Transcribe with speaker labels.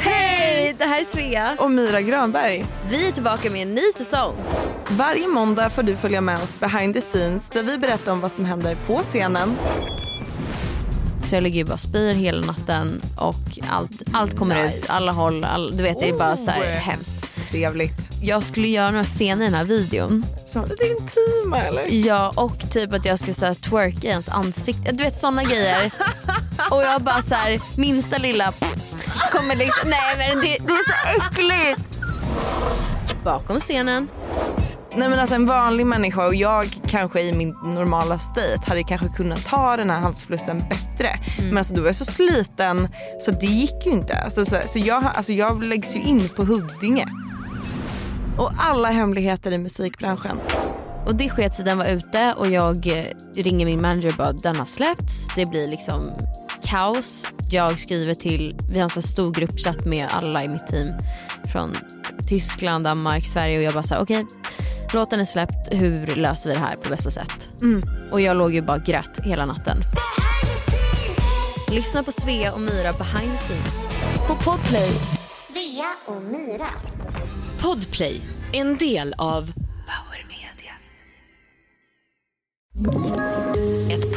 Speaker 1: Hej! Det här är Svea.
Speaker 2: och Myra Grönberg.
Speaker 1: Vi är tillbaka med en ny säsong.
Speaker 2: Varje måndag får du följa med oss behind the scenes där vi berättar om vad som händer på scenen.
Speaker 1: Så jag ligger ju bara och spyr hela natten och allt, allt kommer ut. Alla håll. All, du vet, det är bara så här hemskt.
Speaker 2: Oh. Trevligt.
Speaker 1: Jag skulle göra några scener i den här videon.
Speaker 2: Så lite intima eller?
Speaker 1: Ja, och typ att jag ska så här, twerk i ens ansikte. Du vet sådana grejer. Och jag bara så här, minsta lilla kommer liksom. Nej men det, det är så äckligt. Bakom scenen.
Speaker 2: Nej men alltså en vanlig människa och jag kanske i min normala state hade kanske kunnat ta den här halsflussen bättre. Men alltså då var jag så sliten så det gick ju inte. Alltså, så så jag, alltså, jag läggs ju in på Huddinge. Och alla hemligheter i musikbranschen.
Speaker 1: Och det sket sig, den var ute och jag eh, ringer min manager och bara den har släppts. Det blir liksom kaos. Jag skriver till, vi har en sån här stor gruppchatt med alla i mitt team från Tyskland, Danmark, Sverige och jag bara såhär okej låten är släppt, hur löser vi det här på bästa sätt? Och jag låg ju bara och grät hela natten. Lyssna på Svea och Myra behind the scenes på Podplay.
Speaker 3: Svea och Myra.
Speaker 4: Podplay, en del av Power Media. Ett